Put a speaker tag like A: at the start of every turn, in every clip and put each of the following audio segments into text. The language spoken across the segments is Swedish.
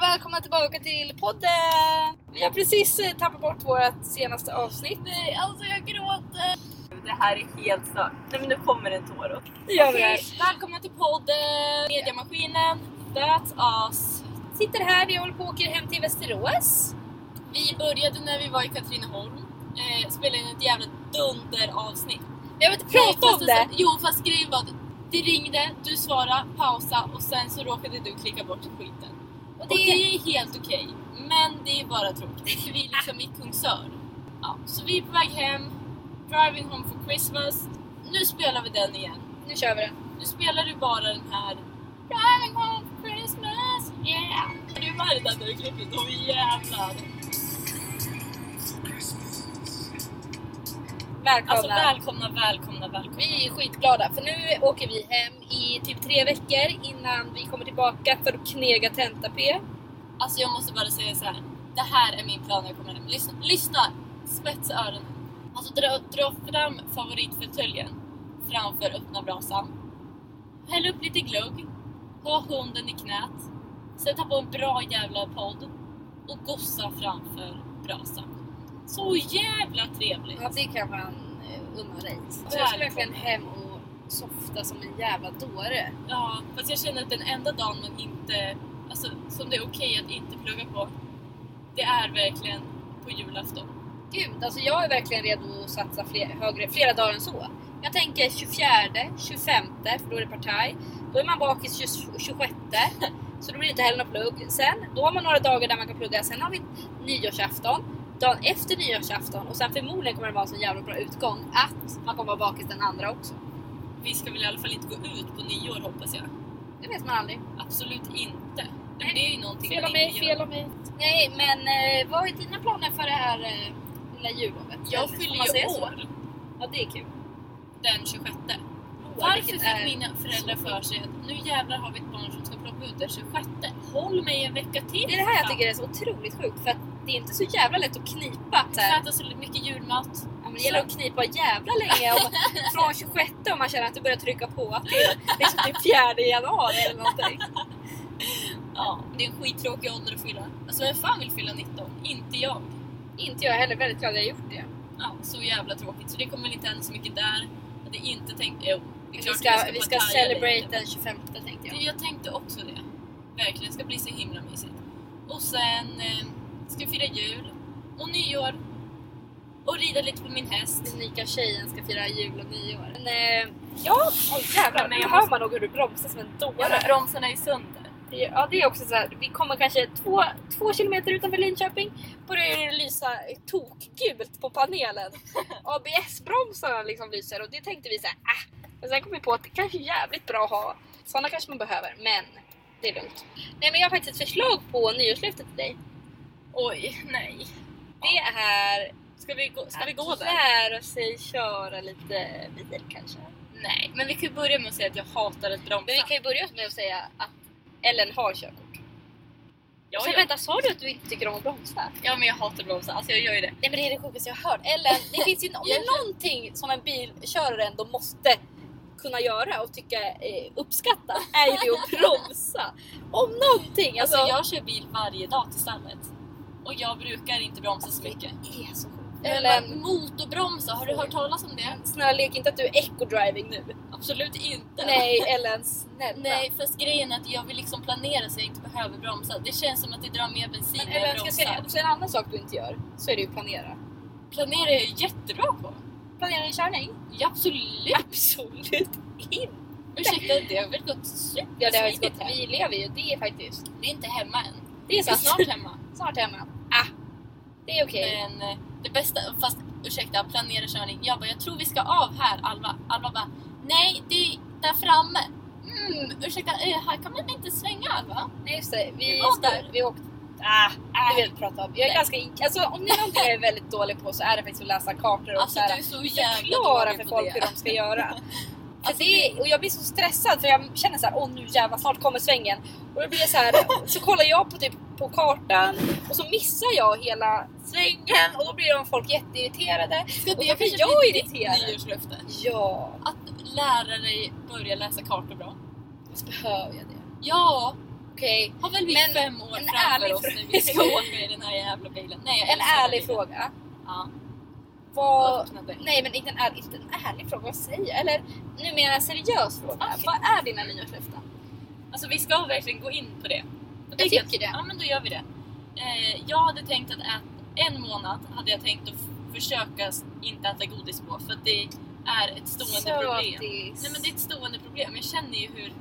A: välkomna tillbaka till podden! Vi har precis eh, tappat bort vårt senaste avsnitt.
B: Nej, alltså jag gråter. Det här är helt stört. Nej men nu kommer en tår upp.
A: Det gör vi.
B: Okej.
A: Välkomna till podden Mediamaskinen. That's us. Sitter här, vi håller på och åker hem till Västerås.
B: Vi började när vi var i Katrineholm. Eh, spelade in ett jävla dunderavsnitt.
A: Jag vill inte
B: Nej,
A: prata
B: fast
A: om det!
B: Sen, jo fast grejen var att det ringde, du svarade, pausa och sen så råkade du klicka bort skiten.
A: Och
B: Och det
A: det,
B: är helt okej. Men det är bara tråkigt. Vi är liksom i Kungsör. Ja, så vi är på väg hem. Driving home for Christmas. Nu spelar vi den igen.
A: nu kör vi det.
B: Nu spelar du bara den här Driving home for Christmas, yeah! Är du varg där du klipper? Då jävlar!
A: Välkomna!
B: Alltså välkomna, välkomna, välkomna!
A: Vi är skitglada för nu åker vi hem i typ tre veckor innan vi kommer tillbaka för att knega tenta-P.
B: Alltså jag måste bara säga så här. Det här är min plan när jag kommer hem. Lyssna! lyssna. Spetsa öronen! Alltså dra, dra fram favoritfåtöljen framför öppna brasan. Häll upp lite glögg. Ha hunden i knät. Sätta på en bra jävla podd. Och gossa framför brasan. Så jävla trevligt!
A: Ja, det kan man eh, unna dig. Så jag
B: Välkommen.
A: skulle verkligen hem och softa som en jävla dåre.
B: Ja, fast jag känner att den enda dagen man inte, alltså, som det är okej att inte plugga på, det är verkligen på julafton.
A: Gud, alltså jag är verkligen redo att satsa fler, högre, flera dagar än så. Jag tänker 24, 25, för då är det partaj. Då är man bakis 20 26, så då blir det inte heller något plugg. Sen, då har man några dagar där man kan plugga. Sen har vi nyårsafton, dagen efter nyårsafton och sen förmodligen kommer det vara en så jävla bra utgång att man kommer vara bakis den andra också.
B: Vi ska väl i alla fall inte gå ut på nyår hoppas jag.
A: Det vet man aldrig.
B: Absolut inte. Men det är ju någonting
A: Fel
B: man
A: av mig,
B: inte
A: fel av mig. Nej, men eh, vad är dina planer för det här eh, lilla jullovet?
B: Jag
A: Får
B: fyller
A: man
B: ju
A: säga så?
B: år
A: Ja, det är kul.
B: den 26.
A: Åh,
B: Varför
A: vilket
B: fick
A: är-
B: mina föräldrar för sig att nu jävlar har vi ett barn som ska plocka ut den 26? Håll mig en vecka till!
A: Det är det här jag
B: fan.
A: tycker är så otroligt sjukt för att det är inte så jävla lätt att knipa. Så
B: Vi ska
A: här.
B: äta så mycket julmat.
A: Ja, men det gäller att knipa jävla länge. Om, från 26 om man känner att det börjar trycka på till, liksom till 4 januari eller någonting.
B: Ja, det är en skittråkig ålder att fylla. Alltså vem fan vill fylla 19? Inte jag.
A: Inte jag heller, väldigt glad jag har gjort det.
B: Ja, så jävla tråkigt. Så det kommer väl inte hända så mycket där. Jag hade inte tänkt... Jo, det
A: Vi
B: är
A: ska,
B: klart
A: vi ska
B: partaja
A: celebrate
B: lite.
A: den 25 tänkte jag.
B: Du, Jag tänkte också det. Verkligen, det ska bli så himla mysigt. Och sen eh, ska vi fira jul och nyår. Och rida lite på min häst.
A: Den rika tjejen ska fira jul och nyår. Men, eh, ja, oh, jävlar.
B: Men
A: Nu
B: jag
A: hör
B: måste-
A: man nog hur du bromsar som en
B: Jävla
A: dåre.
B: bromsarna är sönder.
A: Det- Ja, det är också så här. Vi kommer kanske två, två kilometer utanför Linköping. Börjar det lysa tokgult på panelen. ABS-bromsarna liksom lyser och det tänkte vi så här, ah. Men sen kom vi på att det kanske är jävligt bra att ha. Sådana kanske man behöver, men det är lugnt. Nej, men jag har faktiskt ett förslag på nyårslöftet till dig.
B: Oj, nej.
A: Det är
B: Ska vi gå, ska vi gå
A: att
B: där?
A: lära sig köra lite bil kanske.
B: Nej, men vi kan ju börja med att säga att jag hatar att bromsa.
A: Men vi kan ju börja med att säga att Ellen har körkort.
B: ja,
A: Sen
B: ja.
A: vänta, sa du att du inte tycker om att bromsa?
B: ja, men jag hatar att bromsa. Alltså jag gör ju det.
A: Nej men det är det sjukaste jag har hört. Eller det finns ju om det är någonting som en bilkörare ändå måste kunna göra och tycka eh, uppskatta är ju det att bromsa. Om någonting! Alltså,
B: Alltså jag kör bil varje dag till stallet. Och jag brukar inte bromsa så mycket.
A: är så sjukt.
B: Eller
A: Eller
B: motorbromsa, har du hört talas om det?
A: snälla lek inte att du är eco-driving nu.
B: Absolut inte.
A: Nej Ellen snälla.
B: Nej, fast grejen är att jag vill liksom planera så jag inte behöver bromsa. Det känns som att det drar mer bensin
A: Men
B: när jag
A: Ellen, ska jag
B: bromsar.
A: säga också en annan sak du inte gör så är det ju planera.
B: Planera är jag jättebra på.
A: Planera din körning?
B: Ja, absolut.
A: Absolut inte!
B: Ursäkta, det har väl gått
A: Ja, det har ju gått.
B: supersmidigt här.
A: Vi lever ju, det är faktiskt...
B: Vi är inte hemma än.
A: Det är
B: Vi är
A: sant.
B: snart hemma.
A: Snart hemma. Ah, det är okej.
B: Men eh, det bästa, fast ursäkta, planera körning. Jag bara, jag tror vi ska av här Alva. Alva bara, nej det är där framme. Mm, ursäkta, eh, här kan man inte svänga Alva?
A: Nej just det, vi,
B: Vi var
A: skulle-
B: där.
A: vi åkte... Ah,
B: Ah.
A: det vill jag inte prata om. Jag är
B: Nej.
A: ganska, alltså, om det är någonting jag är väldigt dålig på så är det faktiskt att läsa kartor och
B: Alltså
A: så här,
B: du är så jävla
A: förklara
B: dålig
A: för
B: på
A: folk hur
B: det.
A: de ska göra. För
B: Alltså,
A: det, och jag blir så stressad för jag känner så här, åh nu jävlar snart kommer svängen. Och då blir jag så här, så kollar jag på, typ, på kartan och så missar jag hela svängen och då blir de folk jätteirriterade.
B: Ska
A: Och
B: Alltså, det
A: då blir
B: kanske
A: jag
B: bli ditt
A: irriterad.
B: Nyårslöfte.
A: Ja,
B: Att lära dig börja läsa kartor bra.
A: visst behöver jag det?
B: Ja,
A: Okej,
B: Har väl vi
A: Men
B: fem år
A: en
B: framför
A: ärlig
B: oss
A: frå-
B: när vi ska åka i den här jävla bilen. Nej, jag
A: en
B: älskar den
A: ärlig
B: bilen.
A: fråga.
B: Ja,
A: Vad...
B: öppna den.
A: Nej men inte en, ärlig, inte en ärlig fråga, vad säger jag? Eller numera en seriös fråga.
B: Okej.
A: Vad är dina nyårslöften?
B: Alltså vi ska verkligen gå in på det.
A: Jag
B: tycker
A: tycker det.
B: Ja men då gör vi det. Eh, jag hade tänkt att äta, en månad hade jag tänkt att f- försöka s- inte äta godis på för att det är ett stående problem.
A: Sötis.
B: Nej men det är ett stående problem. Jag känner ju hur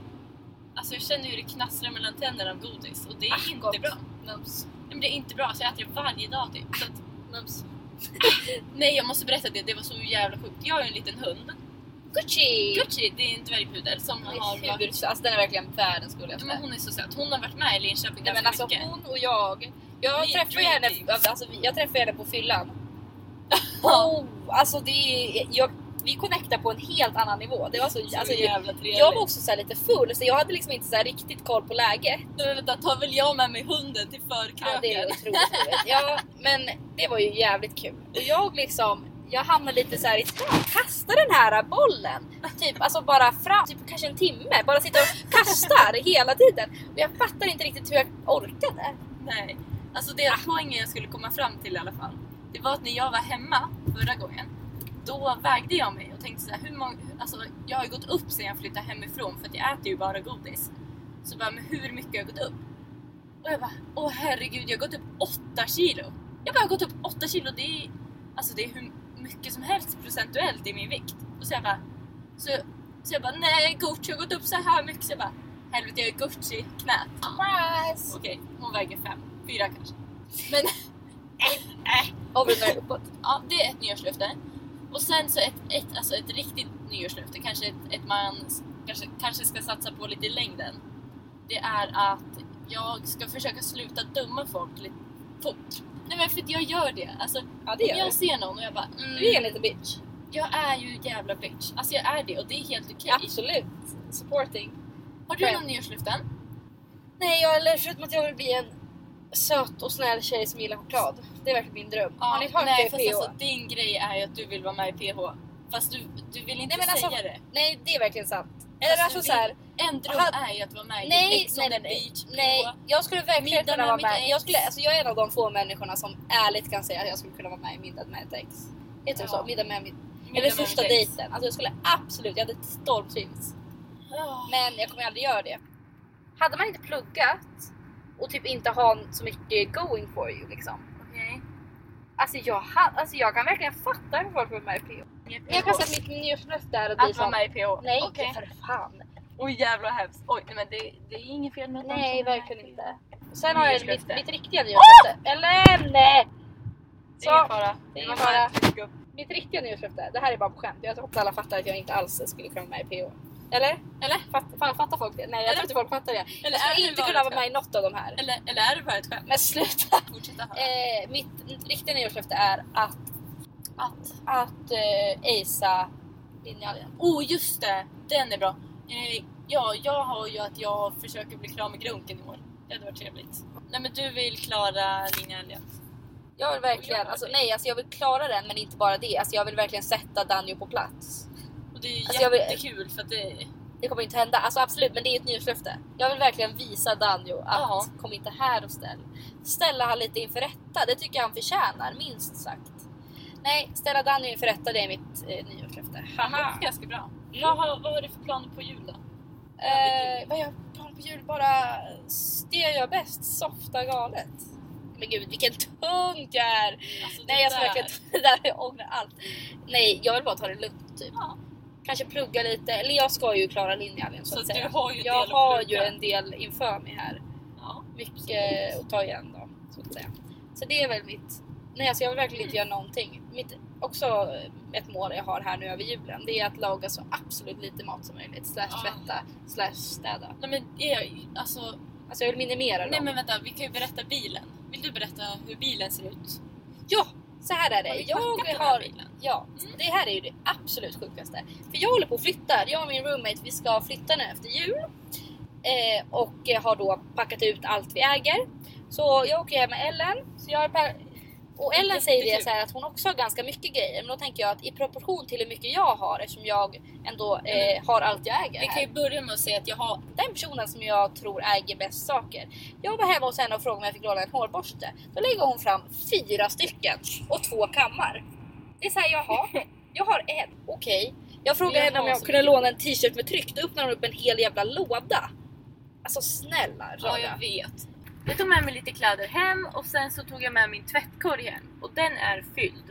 B: Alltså jag känner hur det knastrar mellan tänderna av godis och det är
A: Ah,
B: inte
A: gott.
B: bra. Mums. Nej, men det är inte bra så jag äter det varje dag typ. Så att,
A: Mums.
B: nej jag måste berätta det, det var så jävla sjukt. Jag har ju en liten hund.
A: Gucci!
B: Gucci, det är en dvärgpudel som
A: Hon är
B: har varit...
A: hur- Alltså den är verkligen världens
B: Ja,
A: gulligaste.
B: Men hon är så söt. Hon har varit med i Linköping
A: Nej, men
B: ganska
A: alltså
B: mycket.
A: hon och jag. Jag
B: Vi
A: träffade ju henne,
B: dreamteams.
A: alltså, vi- jag träffade henne på fyllan. Oh, alltså det är, jag, vi connectade på en helt annan nivå. Det var så,
B: Så
A: alltså, jag,
B: jävla trevligt.
A: jag var också så här lite full så jag hade liksom inte så här riktigt koll på läget.
B: Nej, men vänta, tar väl jag med mig hunden till förkröken?
A: Ja, det är otroligt roligt. Ja, men det var ju jävligt kul. Och jag liksom, jag hamnade lite så här i "Fan, kasta den här bollen. Typ, alltså bara fram, typ kanske en timme. Bara sitta och kastar hela tiden. Och jag fattar inte riktigt hur jag orkade.
B: Nej. Alltså det poängen jag skulle komma fram till i alla fall. Det var att när jag var hemma förra gången. Då vägde jag mig och tänkte så här, hur många, alltså jag har ju gått upp sen jag flyttade hemifrån för att jag äter ju bara godis. Så bara, men hur mycket har jag gått upp? Och jag bara, åh herregud jag har gått upp 8 kilo. Jag bara, jag har gått upp 8 kilo, det är, alltså det är hur mycket som helst procentuellt i min vikt. Och så jag bara, så, så jag bara, nej Gucci jag har gått upp så här mycket. Så jag bara, helvete jag är Gucci-knät.
A: Surprise!
B: Okej, hon väger fem. Fyra kanske. Men äh, äh.
A: Avrundar uppåt.
B: Ja, det är ett nyårslöfte. Och sen så ett, ett, alltså ett riktigt nyårslöfte, kanske ett, ett man s- kanske, kanske ska satsa på lite i längden. Det är att jag ska försöka sluta döma folk lite fort. Nej men för att jag gör det. Alltså,
A: Ja, det
B: om
A: gör
B: jag
A: jag.
B: ser någon och jag bara
A: Du är en
B: mm,
A: liten bitch.
B: Jag är ju jävla bitch. Alltså jag är det och det är helt okej.
A: Absolut. Supporting.
B: Har du några nyårslöften?
A: Nej, jag, eller förutom att jag vill bli en söt och snäll tjej som gillar choklad. Det är verkligen min dröm. Har ni hört
B: nej,
A: det
B: fast
A: i PH?
B: alltså din grej är ju att du vill vara med i PH. Fast du, du vill inte
A: men alltså,
B: säga det.
A: Nej, det är verkligen sant. Eller
B: Fast du
A: alltså så här,
B: En dröm
A: Aha.
B: är ju att vara med i typ
A: Nej,
B: Ex on
A: nej,
B: the
A: nej, nej.
B: beach.
A: Nej, jag skulle verkligen
B: Middag
A: kunna
B: med
A: vara
B: mitt
A: med.
B: ex.
A: Jag, skulle, alltså jag är en av de få människorna som ärligt kan säga att jag skulle kunna vara med i Middag med ett ex. Heter det typ
B: Ja.
A: så? Middag med mitt...
B: Middag
A: Eller
B: med
A: första
B: mitt ex.
A: dejten. Alltså jag skulle absolut, jag hade stormtrivts.
B: Ja.
A: Men jag kommer aldrig göra det. Hade man inte pluggat och typ inte ha så mycket going for you liksom.
B: Okej.
A: Alltså jag, ha- alltså jag kan verkligen fatta hur folk vill vara med i PO. Men jag kan säga att mitt nyårslöfte är att bli
B: Att vara
A: sån...
B: med i PH?
A: Nej,
B: Okej.
A: för fan.
B: Oj jävlar vad hemskt. Oj nej, men det, det är inget fel med att
A: Nej,
B: dansa.
A: verkligen inte. Och sen har jag mitt,
B: Nyårslöfte.
A: mitt riktiga nyårslöfte. Eller nej!
B: Det är ingen
A: Så,
B: fara.
A: det är
B: var
A: ingen fara.
B: bara ett gupp.
A: mitt riktiga nyårslöfte, det här är bara på skämt. Jag hoppas alla fattar att jag inte alls skulle kunna vara med i PO. Eller?
B: Eller?
A: Fatt, fan, fattar folk det? Nej, jag
B: Eller?
A: tror inte folk fattar det.
B: Eller
A: Jag skulle
B: är
A: inte
B: det
A: kunna
B: bara
A: vara med i
B: ett skämt?
A: något av de här.
B: Eller, eller är det bara ett skämt?
A: Men sluta!
B: Fortsätta höra.
A: Eh, mitt riktiga nyårslöfte är att,
B: Att.
A: att eh, acea linjalen.
B: Oh just det! Den är bra. Eh, ja, jag har ju att jag försöker bli klar med grunken i år. Det hade varit trevligt. Nej men du vill klara linjen ja.
A: Jag vill
B: Jag
A: verkligen,
B: gör
A: alltså,
B: det.
A: nej alltså jag vill klara den men inte bara det. Alltså jag vill verkligen sätta Danjo på plats.
B: Och det är ju
A: Alltså, jag vill-
B: jättekul för att det
A: Det kommer inte hända, alltså absolut men det är ett nyårslöfte. Jag vill verkligen visa Danjo att
B: Ja.
A: kom inte här och ställ. Ställa han lite inför rätta, det tycker jag han förtjänar minst sagt. Nej, ställa Danjo inför rätta det är mitt eh, nyårslöfte.
B: Haha. ganska bra. Vad har, vad har du för planer på jul då?
A: Eh, vad jag planerar på jul? Bara s- det jag gör bäst, softa galet. Men gud vilken tung jag är!
B: Alltså, det
A: Nej jag ska
B: där-
A: verkligen det där jag ångrar allt. Nej jag vill bara ta det lugnt typ.
B: Ja.
A: Kanske plugga lite, eller jag ska ju klara linjen så,
B: Så
A: att
B: du
A: säga.
B: har ju en
A: Jag
B: del att
A: har ju
B: plugga.
A: en del inför mig här.
B: Ja.
A: mycket att ta igen då, så att säga. Så det är väl mitt... Nej, alltså jag vill verkligen inte göra någonting. Mitt, också ett mål jag har här nu över julen, det är att laga så absolut lite mat som möjligt. Slash
B: Ah.
A: tvätta, slash städa.
B: Nej men, är- alltså,
A: Alltså jag vill minimera
B: nej
A: dem.
B: men vänta, vi kan ju berätta bilen. Vill du berätta hur bilen ser ut?
A: Ja! Så här är
B: Har
A: det.
B: vi
A: Jag
B: packat den här
A: har...
B: bilen?
A: Ja,
B: Mm.
A: det här är ju det absolut sjukaste. För jag håller på och flyttar. Jag och min roommate, vi ska flytta nu efter jul. Eh, och eh, har då packat ut allt vi äger. Så jag åker hem med Ellen. Så jag har pa- Och Ellen säger det
B: Jättekul.
A: så här att hon också har ganska mycket grejer. Men då tänker jag att i proportion till hur mycket jag har eftersom jag ändå eh, har allt jag äger
B: Vi kan
A: här.
B: ju börja med att säga att jag har...
A: Den personen som jag tror äger bäst saker. Jag var hemma hos henne och frågade om jag fick låna en hårborste. Då lägger hon fram fyra stycken och två kammar. Det är såhär, jaha, jag har en. Okej. Jag frågade
B: Jag
A: henne om
B: har
A: jag
B: så
A: kunde
B: mycket.
A: låna en t-shirt med tryck. Då öppnade hon upp en hel jävla låda. Alltså snälla
B: Ja,
A: rara.
B: jag vet.
C: Jag tog med mig lite kläder hem och sen så tog jag med min tvättkorg hem och den är fylld.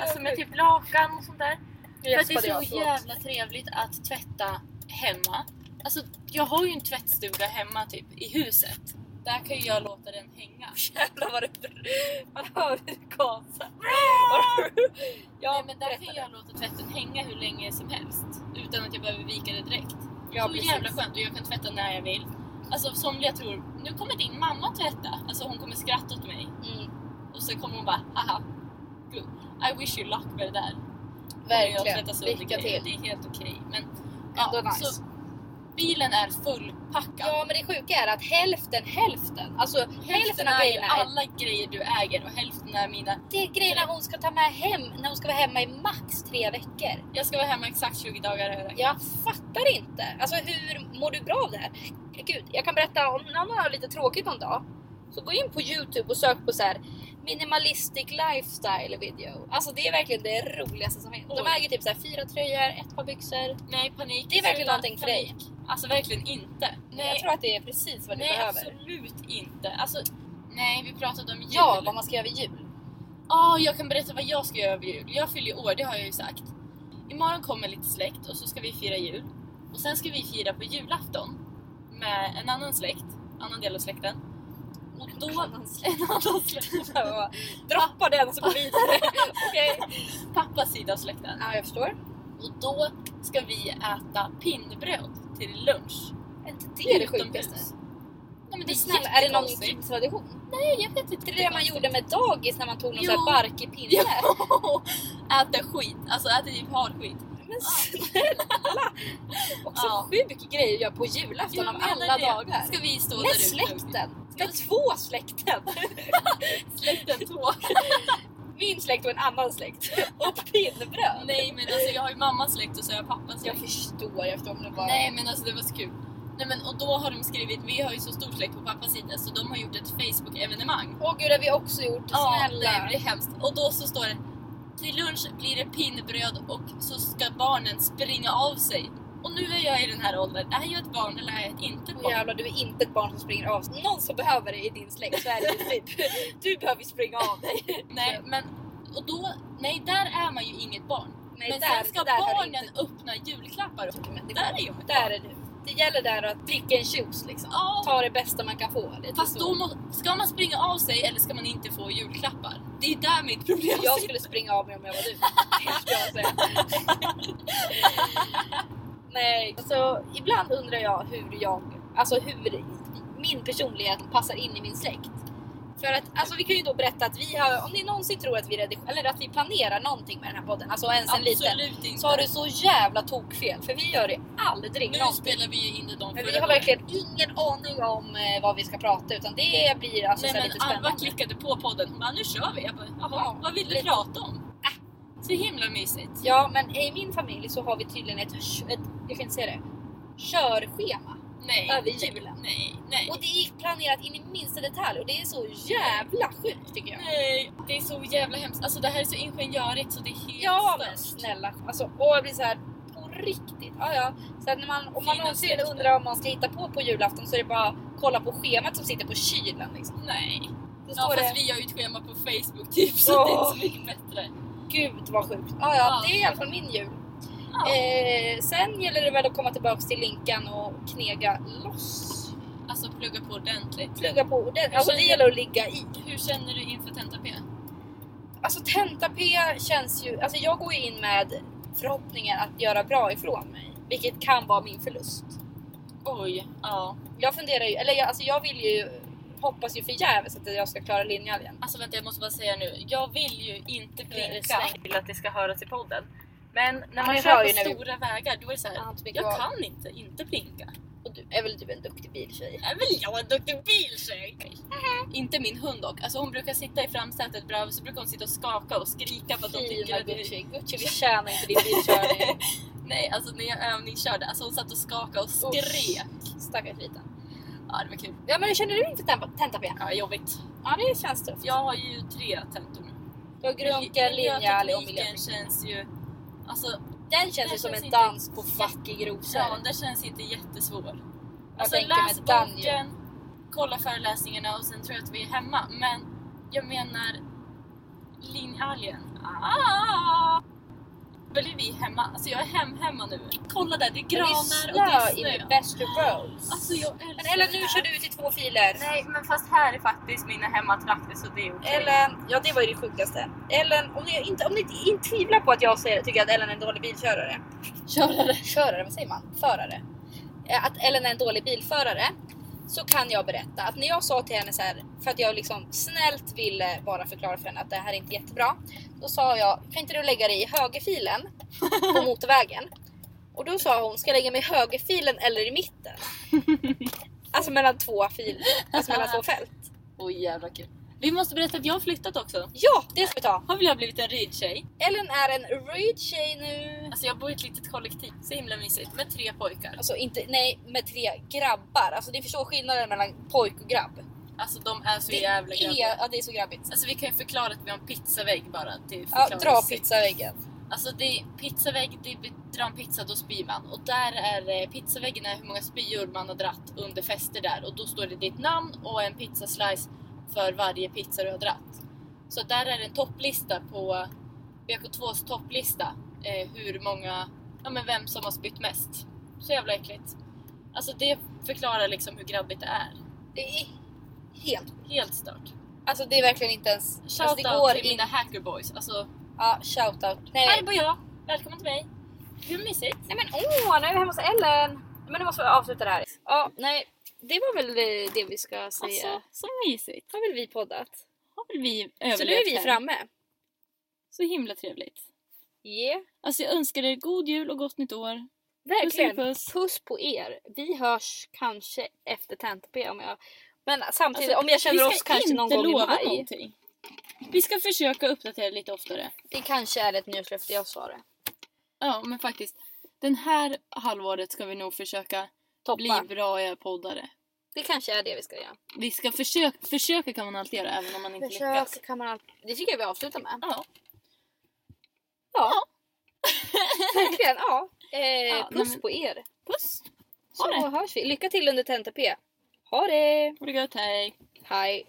C: Alltså med typ lakan och sånt där.
A: Nu
B: För att det
A: gäspade
B: är
A: jag,
B: så
A: förlåt.
B: jävla trevligt att tvätta hemma. Alltså, jag har ju en tvättstuga hemma typ i huset. Där kan ju jag låta den hänga.
A: Jävlar vad det Man hör hur det gasar.
B: Ja,
A: ja,
B: men där kan jag låta tvätten hänga hur länge som helst utan att jag behöver vika det direkt.
A: ja,
B: så jävla skönt och jag kan tvätta när jag vill. Alltså somliga tror, nu kommer din mamma tvätta. Alltså hon kommer skratta åt mig
A: Mm,
B: och så kommer hon bara haha. Good. I wish you luck med det där. Och jag
A: verkligen.
B: tvättar sönder
A: Lycka
B: grejer.
A: till.
B: Det är helt okej. Men
A: Ändå nice.
B: så bilen är fullpackad.
A: Ja, men det sjuka är att hälften hälften. Alltså hälften,
B: Hälften
A: av
B: är ju
A: grejerna. är-
B: alla grejer du äger och hälften är mina.
A: Det är grejerna hon ska ta med hem när hon ska vara hemma i max tre veckor.
B: Jag ska vara hemma exakt 20 dagar har jag räknat.
A: Jag fattar inte. Alltså hur mår du bra av det här? Gud, jag kan berätta om någon har lite tråkigt någon dag. Så gå in på Youtube och sök på så här minimalistic lifestyle video. Alltså det är verkligen det roligaste som finns. De
B: Oj.
A: äger typ så här fyra tröjor, ett par byxor.
B: Nej panik.
A: Det är verkligen
B: Sluta.
A: någonting för dig.
B: Panik. Alltså verkligen inte.
A: Nej. Jag
B: Nej,
A: tror att det är precis vad du
B: nej
A: behöver.
B: absolut inte. Alltså, nej vi pratade om jul.
A: Ja, vad man ska göra vid jul.
B: Ah, jag kan berätta vad jag ska göra över jul. Jag fyller ju år, det har jag ju sagt. Imorgon kommer lite släkt och så ska vi fira jul. Och sen ska vi fira på julafton med en annan släkt, annan del av släkten. Och då... En annan släkt.
A: Droppa den så går vi vidare. Okej.
B: Pappas sida av släkten.
A: Ja, jag förstår.
B: Och då ska vi äta pinnbröd till lunch.
A: Är inte det det
B: Utomhus.
A: sjukaste?
B: Nej, men
A: Det
B: det
A: är,
B: är
A: snälla, är det någon typ
B: jättekonstigt.
A: kidstradition?
B: Nej, jag vet inte.
A: Det är det man gjorde med dagis när man tog någon
B: Jo.
A: sån här barkig pinne.
B: Ja. äta skit, alltså äta typ hardskit.
A: Men snälla! Också
B: Ja.
A: sjuk grej att göra på julafton av
B: Jag menar
A: alla
B: det.
A: dagar.
B: Ska vi stå
A: Med
B: där ute?
A: släkten! Med två släkten!
B: Släkten två.
A: Min släkt och en annan släkt. Och pinnbröd!
B: Nej men alltså jag har ju mammas släkt och så har jag pappas
A: Jag
B: släkt.
A: förstår, jag förstår om det bara...
B: Nej men alltså det var så kul. Nej men och då har de skrivit, vi har ju så stor släkt på pappas sida så de har gjort ett Facebook-evenemang.
A: Åh gud, det har vi också gjort.
B: nej,
A: Snälla!
B: det blir hemskt. Och då så står det, till lunch blir det pinnbröd och så ska barnen springa av sig. Och nu är jag i den här åldern, är jag ett barn eller är jag ett inte
A: Åh,
B: barn?
A: jävlar, Typ du är inte ett barn som springer av sig. Någon som behöver det i din släkt så är det ju typ. Du behöver springa av dig.
B: Nej men, och då, nej där är man ju inget barn.
A: Nej,
B: men
A: där,
B: sen ska
A: där har
B: barnen
A: du inte-
B: öppna julklappar och
A: Men det-
B: där är jag ett
A: Där
B: barn.
A: är du. Det gäller där att dricka en juice liksom.
B: Ja,
A: Ta det bästa man kan få. Lite
B: Fast
A: så.
B: då må, ska man springa av sig eller ska man inte få julklappar? Det är där mitt problem
A: Jag
B: sitter.
A: skulle springa av mig om jag var du. Det ska jag säga. Nej, alltså ibland undrar jag hur jag, alltså hur min personlighet passar in i min släkt. För att, alltså vi kan ju då berätta att vi har, om ni någonsin tror att vi redigerar, eller att vi planerar någonting med den här podden, alltså ens en liten,
B: Absolut inte.
A: så har du så jävla tokfel. För vi gör det aldrig
B: nu
A: någonting.
B: spelar vi ju in det de
A: Men vi
B: förra
A: har verkligen ingen aning om eh, vad vi ska prata utan det blir alltså
B: Nej
A: så här
B: men
A: lite spännande.
B: Alva klickade på podden hon bara nu kör vi. Jag bara jaha
A: Ja,
B: vad vill du
A: lite. Ah.
B: prata om? Äh, så himla mysigt.
A: Ja, men i min familj så har vi tydligen ett, ett jag kan inte säga det, körschema
B: Nej.
A: över julen.
B: Nej, nej.
A: Och det är planerat in i minsta detalj och det är så jävla sjukt tycker jag.
B: nej. Det är så jävla hemskt. Alltså det här är så ingenjörigt så det är helt
A: Ja men
B: stört.
A: snälla, alltså, och jag blir så här på riktigt. Ja, ja. Så att när man, om man
B: Fina
A: någonsin
B: släkter.
A: undrar vad man ska hitta på på julafton så är det bara att kolla på schemat som sitter på kylen. Liksom.
B: Nej.
A: Då
B: Ja,
A: står
B: fast
A: det,
B: vi har ju ett schema på Facebook typ så
A: Ja.
B: det är inte så mycket bättre.
A: gud vad sjukt. Ja, ja,
B: Ja.
A: det är i alla fall min jul.
B: Ja.
A: Eh, sen gäller det väl att komma tillbaka till Linkan och knega loss.
B: Alltså plugga på ordentligt.
A: Plugga på ordentligt.
B: Jag
A: Alltså det
B: känner-
A: gäller att ligga i.
B: Hur känner du inför tenta P?
A: Alltså tenta-P känns ju... Alltså jag går ju in med förhoppningen att göra bra ifrån mig. Vilket kan vara min förlust.
B: Oj, ja.
A: Jag funderar ju... Eller jag, alltså jag vill ju... Hoppas ju förgäves att jag ska klara linjen.
B: Alltså vänta jag måste bara säga nu, jag vill ju inte blinka.
C: Jag vill att det ska höras i podden. Men när
A: ni
C: man
A: hör
C: kör
A: ju
C: på
A: när vi-
C: stora vägar då är det så här.
A: Jag
B: Jag kan inte inte blinka.
A: Och du, är väl typ en duktig biltjej.
B: Är väl jag en duktig biltjej? Inte min hund dock. Alltså hon brukar sitta i framsätet bredvid så brukar hon sitta och skaka och skrika för att hon tycker
A: Fina
B: att det är...
A: Gucci. Gucci förtjänar inte din bilkörning.
B: Nej, alltså när jag övningskörde, alltså hon satt och skakade och skrek.
A: Stackars liten.
B: Ja, det var kul.
A: Ja men hur känner du inför temp- tentapen?
B: Ja, jobbigt.
A: Ja det känns tufft.
B: Jag har ju tre tentor nu.
A: Du har grunka, linja och
B: Miljötekniken
A: miljö.
B: känns ju... Alltså,
A: Den känns ju
B: Den
A: som
B: känns
A: en
B: inte-
A: dans på fucking rosor.
B: ja, den känns inte jättesvår.
A: Jag
B: Alltså
A: tänker
B: läs
A: med Daniel.
B: boken, kolla föreläsningarna och sen tror jag att vi är hemma. Men jag menar linjealgen. Ah! Väl är vi hemma? Alltså jag är hem-hemma nu. Kolla där, det är
A: Men
B: granar
A: det är
B: och
A: snö
B: det är
A: in the
B: snö.
A: best of worlds.
B: Alltså jag älskar
A: men Ellen,
B: det
A: nu
B: här.
A: kör du ut i två filer.
C: Nej, men fast här är faktiskt mina hemmatrakter så det är okej.
A: Ellen, ja det var ju det sjukaste. Ellen, om ni inte, om ni inte in- tvivlar på att jag säger, tycker att Ellen är en dålig bilkörare.
B: Körare.
A: Körare, vad säger man? Förare. Eh, Att Ellen är en dålig bilförare. Så kan jag berätta att när jag sa till henne så här, för att jag liksom snällt ville bara förklara för henne att det här är inte jättebra. Då sa jag, kan inte du lägga dig i högerfilen på motorvägen? Och då sa hon, ska jag lägga mig i högerfilen eller i mitten? Alltså mellan två filer, alltså mellan två fält.
B: Oj jävla kul. Vi måste berätta att jag har flyttat också.
A: Ja, det ska vi ta!
B: Har väl jag blivit en rydtjej?
A: Ellen är en röd tjej nu.
B: Alltså jag bor i ett litet kollektiv, så himla mysigt, med tre pojkar.
A: Alltså inte, nej, med tre grabbar. Alltså ni förstår skillnaden mellan pojk och grabb.
B: Alltså de är så
A: det,
B: jävla grabbiga.
A: är, ja, det är så grabbigt.
B: Alltså vi kan ju förklara att vi har en pizzavägg bara. Till
A: Ja, dra
B: förklaringssätt.
A: pizzaväggen.
B: Alltså det är pizzavägg, det är, dra en pizza då spyr man. Och där är eh, pizzaväggen är hur många spyor man har dratt under fester där. Och då står det ditt namn och en pizzaslice för varje pizza du har dratt. Så där är det en topplista på BK2s topplista. Eh, hur många, ja men vem som har spytt mest. Så jävla äckligt. Alltså det förklarar liksom hur grabbigt det är.
A: Det är helt...
B: Helt stört.
A: Alltså det är verkligen inte ens... alltså, det
B: Shoutout
A: går
B: till
A: in...
B: mina hackerboys. Alltså,
A: Ja, shoutout.
B: här
A: Nej.
B: bor jag. Välkommen till mig. Hur mysigt?
A: nej men åh, nu är vi hemma hos Ellen! Men nu måste vi avsluta det här. Ja, nej. Det var väl eh, det vi ska säga.
B: Alltså, så mysigt.
A: har väl vi poddat.
B: Har väl vi
A: Så nu är vi
B: här?
A: framme.
B: Så himla trevligt.
A: Yeah.
B: Alltså jag önskar er god jul och gott nytt år.
A: Verkligen.
B: Puss,
A: Puss. på er. Vi hörs kanske efter tenta-p om jag... Men samtidigt,
B: Alltså,
A: om jag känner oss kanske någon gång i
B: Vi ska inte
A: maj.
B: lova någonting. Vi ska försöka uppdatera lite oftare.
A: Det kanske är ett nyårslöfte jag svarar.
B: Ja, men faktiskt. Den här halvåret ska vi nog försöka
A: Toppa.
B: bli bra poddare.
A: Det kanske är det vi ska göra.
B: Vi ska försöka, försöka kan man alltid göra även om man inte lyckas.
A: kan man alltid... Det tycker jag vi avslutar med.
B: Ja.
A: Ja. Verkligen, ja. Eh,
B: Ja,
A: puss
B: nej men-
A: på er.
B: Puss! Ha
A: Så
B: det!
A: hörs vi. Lycka till under tenta-p. Ha det!
B: Ha det gött, hej!
A: Hej!